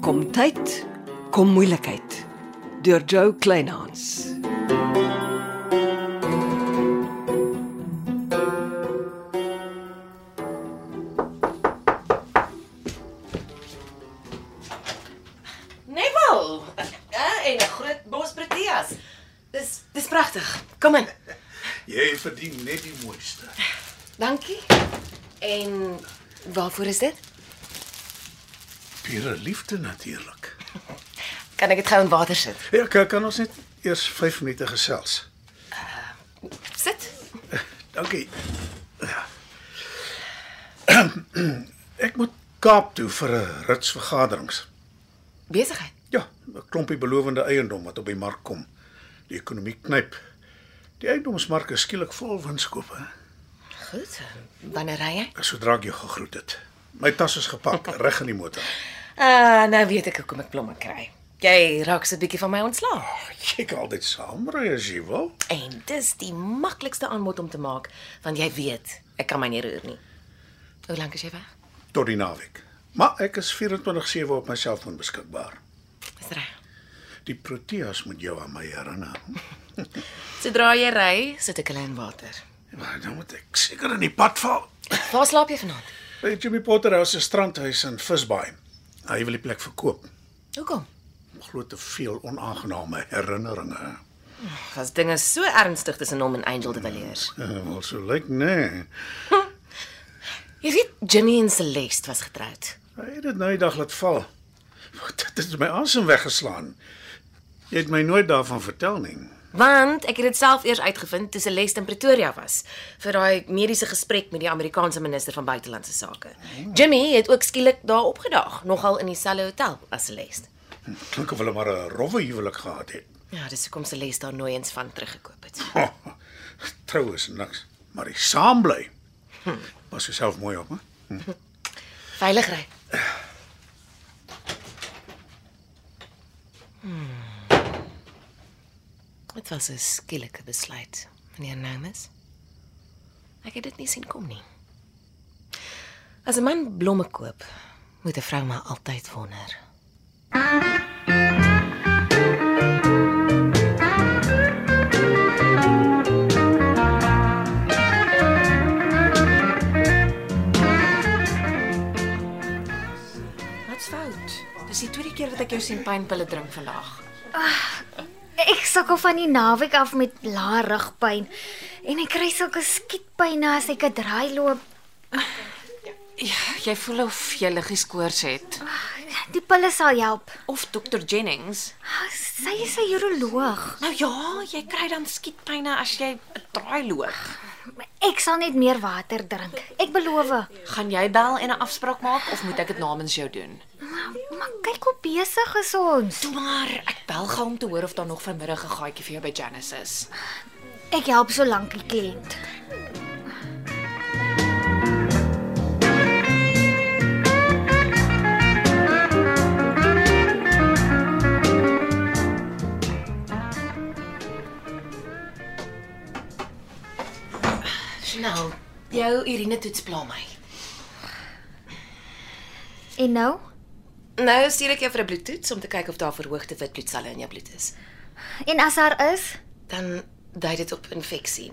Gesondheid kom moeilikheid deur Joe Kleinhans. Neville. Ja, en 'n groot bos proteas. Dis dis pragtig. Kom in. Jy verdien net die mooiste. Dankie. En waarvoor is dit? Pure liefde natuurlik. Kan ek dit gou in water sit? Ja, kan, kan ons net eers 5 minute gesels. Sit. Dankie. Ek moet Kaap toe vir 'n rits vergaderings. Besigheid. Ja, 'n klompie belowende eiendom wat op die mark kom. Die ekonomie knyp. Die eiendomsmark is skielik vol winskope. Goed. Wanneer ry jy? Sodra ek jou gegroet het. My tas is gepak, reg in die motor. Ah, nou weet ek hoekom ek blomme kry. Jy raak so 'n bietjie van my ontslae. Jy kan altyd saamry as jy wil. En dis die maklikste aanbod om te maak, want jy weet, ek kan my nie roer nie. Hoe lank is jy weg? tot die naweek. Maar ek is 24/7 op my selfoon beskikbaar. Dis reg. Die Proteas moet jou aan my herinner. Sodra jy ry, sit ek hulle in water. Maar Ja, dan moet ek seker in die pad val. Waar slaap jy vanaand? By Jimmy Potter se strandhuis in Visbaai. Hy wil die plek verkoop. Hoekom? Glo te veel onaangename herinneringe. Was dinge so ernstig tussen hom en Angel de Villiers. Eh, Wel so lyk nee. Jy weet Jimmy en Celeste was getroud. Hy het dit nou die dag laat val. Dit het my asem weggeslaan. Jy het my nooit daarvan vertel nie. Want ek het dit self eers uitgevind toe Celeste in Pretoria was vir daai mediese gesprek met die Amerikaanse minister van buitelandse sake. Jimmy het ook skielik daar opgedaag, nogal in dieselfde hotel as Celeste. Klink of hulle maar 'n rowwe huwelik gehad het. Ja, dis hoekom Celeste daar nooit eens van teruggekoop het. Oh, trou is niks, maar die saam bly. Pas jouself mooi op, hè? Veilig ry. Hmm. Dit hmm. was 'n skielike besluit, meneer Namus. Ek het dit nie sien kom nie. As 'n man blomme koop, moet 'n vrou maar altyd wonder. Wat's fout? Dis die tweede keer wat ek jou sien pynpille drink vandag. Ek sukkel van die naweek af met lae rugpyn en ek kry sulke skietpyne as ek 'n draai loop. Ja, jy voel of jy liggies koors het Die pille sal help. of Dr Jennings. Sy is 'n uroloog. Nou ja, jy kry dan skietpyne as jy 'n draai loop. Ek sal net meer water drink. Ek beloof. Gaan jy bel en 'n afspraak maak of moet ek dit namens jou doen? Maar kyk hoe besig is ons. Toe maar, ek bel gou om te hoor of daar nog vanmiddag 'n gaatjie vir jou by Janice is. Ek help solank die kliënt. Nou, jou urine toets pla my. En nou, Nou stuur ek jou vir 'n bloedtoets om te kyk of daar verhoogde wit bloedselle in jou bloed is. en as daar is, dan dui dit op infeksie.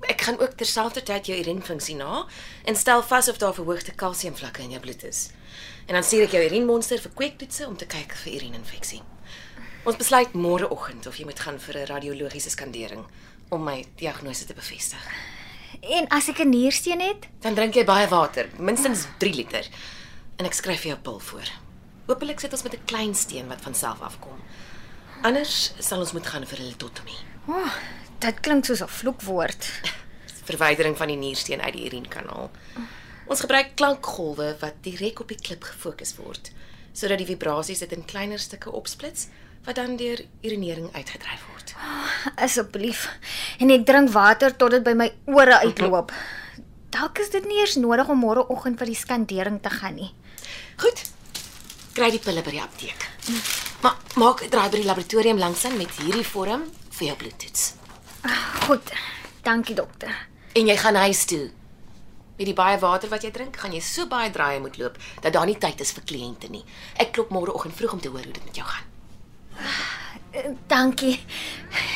Ek gaan ook terselfdertyd jou urinefunksie na en stel vas of daar verhoogde kalsiumvlakke in jou bloed is. En dan stuur ek jou urinemonster vir kweektoetse om te kyk vir urininfeksie. Ons besluit môreoggend of jy moet gaan vir 'n radiologiese skandering om my diagnose te bevestig. en as ek 'n niersteen het, Dan drink jy baie water, minstens 3 liter, en ek skryf vir jou 'n pil voor. Hoopelik sit ons met 'n klein steen wat van self afkom. Anders sal ons moet gaan vir 'n litotomie. oh, dit klink soos 'n vloekwoord. verwydering van die niersteen uit die urienkanaal. Ons gebruik klankgolwe wat direk op die klip gefokus word sodat die vibrasies dit in kleiner stukke opsplits wat dan deur urinering uitgedryf word. Asseblief. En ek drink water tot dit by my ore uitloop. Dalk is dit nie eers nodig om môreoggend vir die skandering te gaan nie. Goed. Kry die pille by die apteek. Maar maak 'n draai by die laboratorium langsaan met hierdie vorm vir jou bloedtoets. Goed. Dankie dokter. En jy gaan huis toe. Met die baie water wat jy drink, gaan jy so baie draaie moet loop dat daar nie tyd is vir kliënte nie. Ek klop môreoggend vroeg om te hoor hoe dit met jou gaan. Eh, Dankie.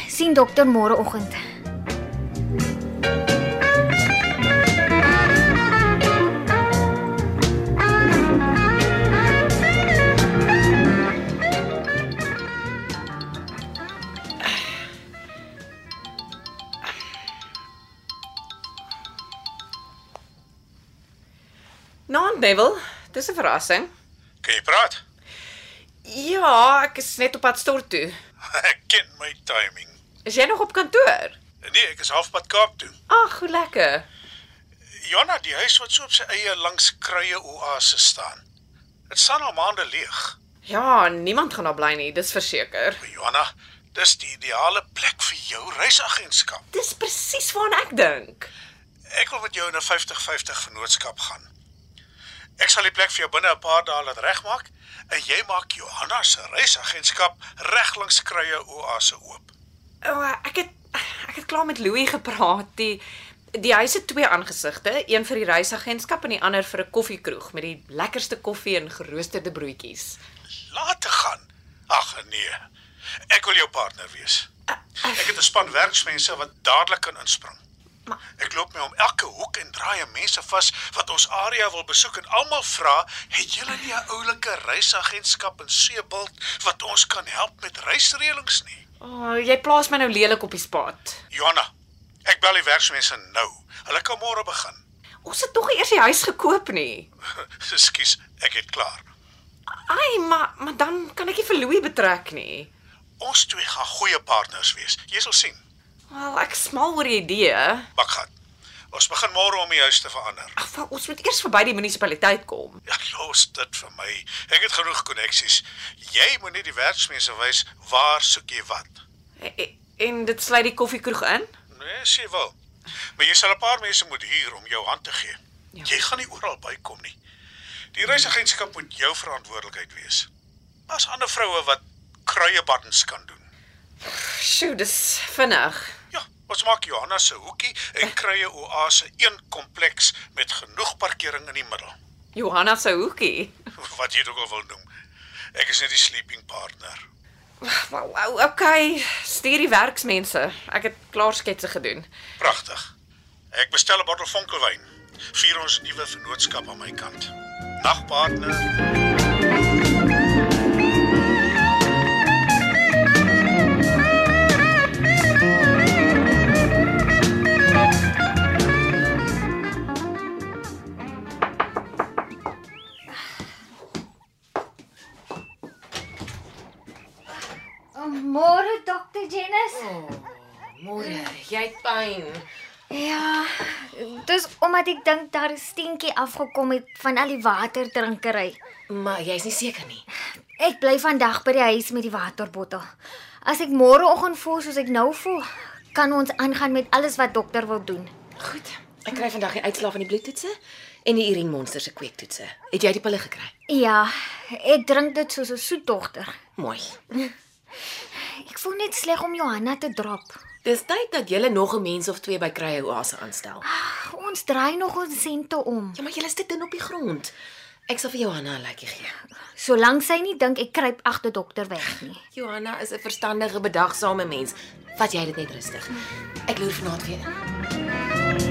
sien dokter môreoggend. Naam Neville, dis 'n verrassing. Kan jy praat? Ja, ek is net op pad stort toe. Ek ken my timing. Is jy nog op kantoor? Nee, ek is halfpad Kaap toe. Ag, hoe lekker. Jonna, die huis wat so op sy eie langs kruie oase staan. Dit staan al maande leeg. Ja, niemand gaan daar bly nie, dis verseker. Maar Jonna, dis die ideale plek vir jou reisagentskap. Dis presies waarna ek dink. Ek wil met jou in 'n 50-50 vennootskap gaan. Ek sal die plek vir jou binne 'n paar dae laat regmaak en jy maak Johanna se reisagentskap reg langs kruie oase oop. O, ek het ek het klaar met Louis gepraat. Die die huis het twee aangesigte, een vir die reisagentskap en die ander vir 'n koffiekroeg met die lekkerste koffie en geroosterde broodjies. Laat te gaan. Ag nee. Ek wil jou partner wees. Eh, Ek het 'n span werksmense wat dadelik kan inspring. Ek loop my om elke hoek en draai aan mense vas wat ons area wil besoek en almal vra, "Het julle nie 'n oulike reisagentskap in Seebald wat ons kan help met reisreëlings nie?" O, jy plaas my nou lelik op die spaat. Johanna, ek bel die werksmense nou. Hulle kan môre begin. Ons het nog eers die huis gekoop nie. Ekskuus, ek het klaar. Ai, maar maar dan kan ek nie vir Louis betrek nie. Ons twee gaan goeie partners wees. Jy sal sien. Wel, ek smal oor die idee. Bakgat. Ons begin môre om die huis te verander. Ag, wel, ons moet eers verby die munisipaliteit kom. Ja, los dit vir my. Ek het genoeg koneksies. Jy moet net die werksmense wys waar soek jy wat. E- e- En dit sluit die koffiekroeg in? Nee, sê wel. Maar jy sal 'n paar mense moet huur om jou hand te gee. Ja. Ja. Jy gaan nie oral bykom nie. Die reisigheidskap moet jou verantwoordelikheid wees. Daar's ander vroue wat kruie buttons kan doen. Sjoe, dis vinnig. Ja, ons maak Johanna se hoekie en krye oase een kompleks met genoeg parkering in die middel. Johanna se hoekie. Wat jy dit ook al wil noem. Ek is net die sleeping partner. Wow, wow, okay. Stuur die werksmense. Ek het klaar sketse gedoen. Pragtig. Ek bestel 'n bottel vonkelwyn. Vier ons nuwe vennootskap aan my kant. Nag partner. Oh, Môre dokter Janice. Môre, Eh, jy het pyn. Ja, dis omdat ek dink daar is steentjie afgekom het van al die waterdrinkery. Maar jy's nie seker nie. Ek bly vandag by die huis met die waterbottel. As ek môreoggend voel soos ek nou voel, kan ons aangaan met alles wat dokter wil doen. Goed. Ek kry vandag die uitslae van die bloedtoetse en die urinemonster se kweektoetse. Het jy die pille gekry? Ja, ek drink dit soos 'n soet dogter. Mooi. Ek voel net sleg om Johanna te drop. Dis tyd dat jy nog 'n mens of twee by Krye Oase aanstel. Ons draai nog ons sente om. Ja, maar jy is te dun op die grond. Ek sal vir Johanna 'n lykie gee. Solank sy nie dink ek kruip agter dokter weg nie. Johanna is 'n verstandige, bedagsame mens. Vat jy dit net rustig. Ek loer vanaand weer. in.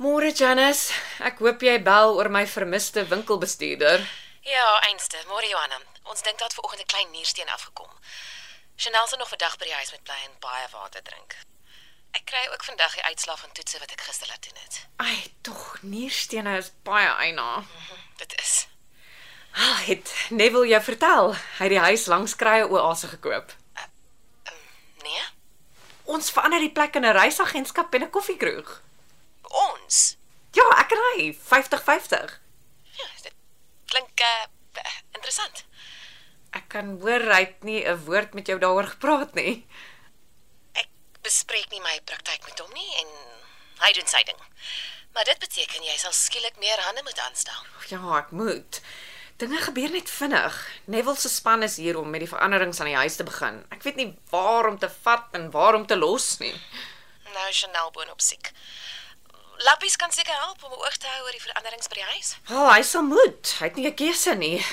Môre Janice, ek hoop jy bel oor my vermiste winkelbestuurder. Ja, einste, môre Johanna. Ons dink dat vanoggend 'n klein niersteen afgekom. Chanel sal nog vandag by die huis met bly en baie water drink. Ek kry ook vandag die uitslae van toetse wat ek gister laat doen het. Ai, tog nierstene is baie eina. Dit is. Ah, het Neville jou vertel? Hy het die huis langs Krye Oase gekoop. Nee, Ons verander die plek in 'n reisagentskap en 'n koffiekroeg. ons. Ja, ek en hy, 50-50. Ja, dit klink uh, eh, interessant. Ek kan hoor hy het nie 'n woord met jou daaroor gepraat nie. Ek bespreek nie my praktyk met hom nie en hy doen sy ding. Maar dit beteken jy sal skielik meer hande moet aanstel. Ja, ek moet. Dinge gebeur net vinnig. Neville se span is hier om met die veranderings aan die huis te begin. Ek weet nie waar om te vat en waar om te los nie. Nou Chanel boonop siek. Lappies kan seker help om 'n oog te hou oor die veranderings by die huis. Wel, Ah, hy sal moet. Hy het nie 'n keuse nie.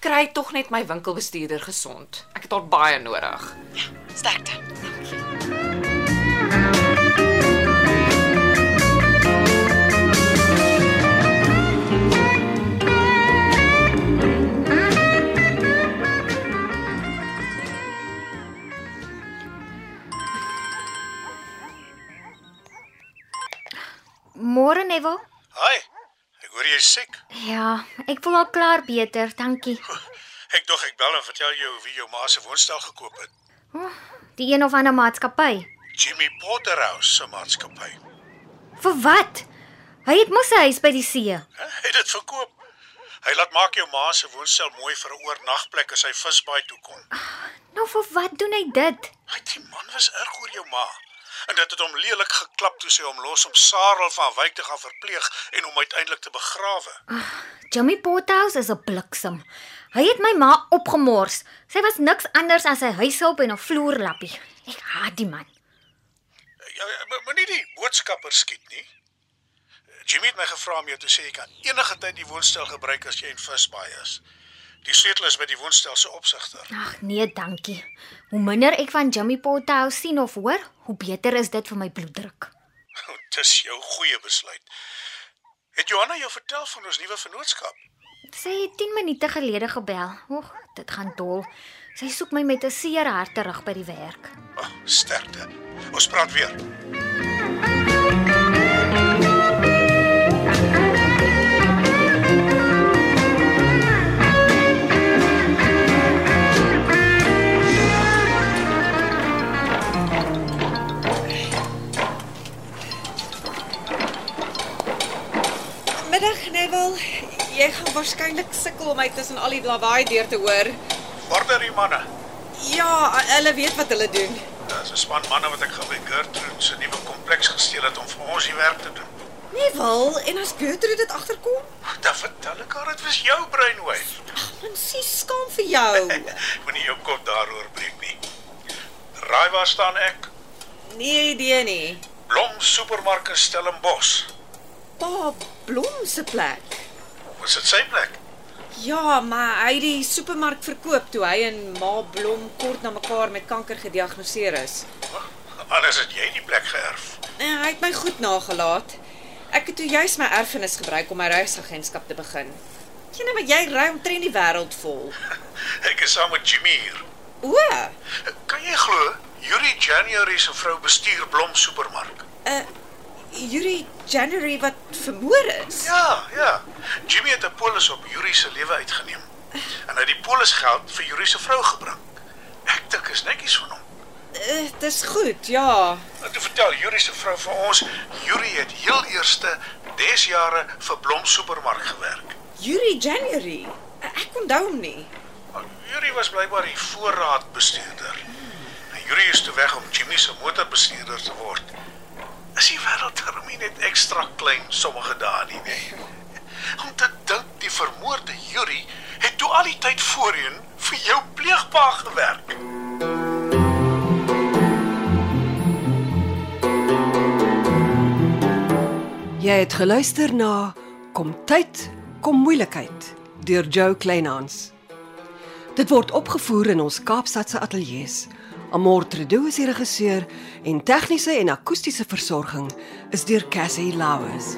Kry tog net my winkelbestuurder gesond. Ek het haar baie nodig. Sterkte. Môre Neville? Hi. Ek hoor jy's siek. Ja, ek voel al klaar beter, dankie. Ek dog ek bel en vertel jou wie jou ma se woonstel gekoop het. Die een of ander maatskappy. Jimmy Potterhouse se maatskappy. Vir wat? Hy het mos 'n huis by die see. Hè, Hy het dit verkoop. Hy laat maak jou ma se woonstel mooi vir 'n oornagplek as hy visbaai toe kom. Nou vir wat doen hy dit? Hy die man was erg oor jou ma. En dit het hom lelik geklap toe sy hom los om Sarel van Wyk te gaan verpleeg en hom uiteindelik te begrawe. Jimmy Pothouse is 'n bliksem. Hy het my ma opgemors. Sy was niks anders as 'n huishulp en 'n vloerlappie. Ek haat die man. Ja, ja, mo- Moenie die boodskapper skiet nie. Jimmy het my gevra om jou te sê jy kan enige tyd die woonstel gebruik as jy in visbaai is. Die sleutel is by die woonstel se opsigter. Ag nee, dankie. Hoe minder ek van Jimmy Pothouse sien of hoor, hoe beter is dit vir my bloeddruk. Nou, Dis jou goeie besluit. Het Johanna jou vertel van ons nuwe vennootskap? Sy het 10 minute gelede gebel. Oeg, dit gaan dol. Sy soek my met 'n seer hart terug by die werk. Ag, oh, sterkte. Ons praat weer. Middag Neville, jy gaan waarskynlik sukkel om my tussen al die lawaai deur te hoor. Order die manne. Ja, hulle weet wat hulle doen. Daar's 'n span manne wat ek gaan by Gertrude se nuwe kompleks gesteel het om vir ons die werk te doen. Neville, Nee, en as Gertrude dit agterkom, Dan vertel ek haar dit was jou breinwyf. man, sy skaam vir jou. Moenie jou kop daaroor breek nie. Raai waar staan ek? Nee idee nie. Blom Supermark in Stellenbosch. Pa Blom se plek. Was dit sy plek? Ja, maar hy het die supermark verkoop toe hy en Ma Blom kort na mekaar met kanker gediagnoseer is. Anders het jy die plek geërf. En hy het my goed nagelaat. Ek het toe juis my erfenis gebruik om my reisagentskap te begin. Sien jy, maar jy ry omtrent die wêreld vol. Ek is saam met Jimmy hier. O, Kan jy glo? Yuri January se vrou bestuur Blom Supermark. 'n Yuri January wat vermoor is. Ja, ja. Jimmy het 'n polis op Yuri se lewe uitgeneem. En hy het die polisgeld vir Yuri se vrou gebring. Ek dink is netjies van hom. Uh, dis goed, ja. En toe vertel Yuri se vrou vir ons, Yuri het heel eerste des jare vir Blom Supermark gewerk. Yuri January. Ek onthou hom nie. Maar Yuri was blykbaar die voorraadbestuurder. Hmm. En Yuri is toe weg om Jimmy se motorbestuurder te word. Is die wêreld darem nie net ekstra klein sommige dae nie, nee. Hmm. Om te dink die vermoorde Yuri het toe al die tyd voorheen vir jou pleegpa gewerk. Jy het geluister na Kom tyd, kom moeilikheid deur Jo Kleinhans. Dit word opgevoer in ons Kaapstadse ateljee se. Amortredo is die regisseur en tegniese en akoestiese versorging is deur Cassie Lauers.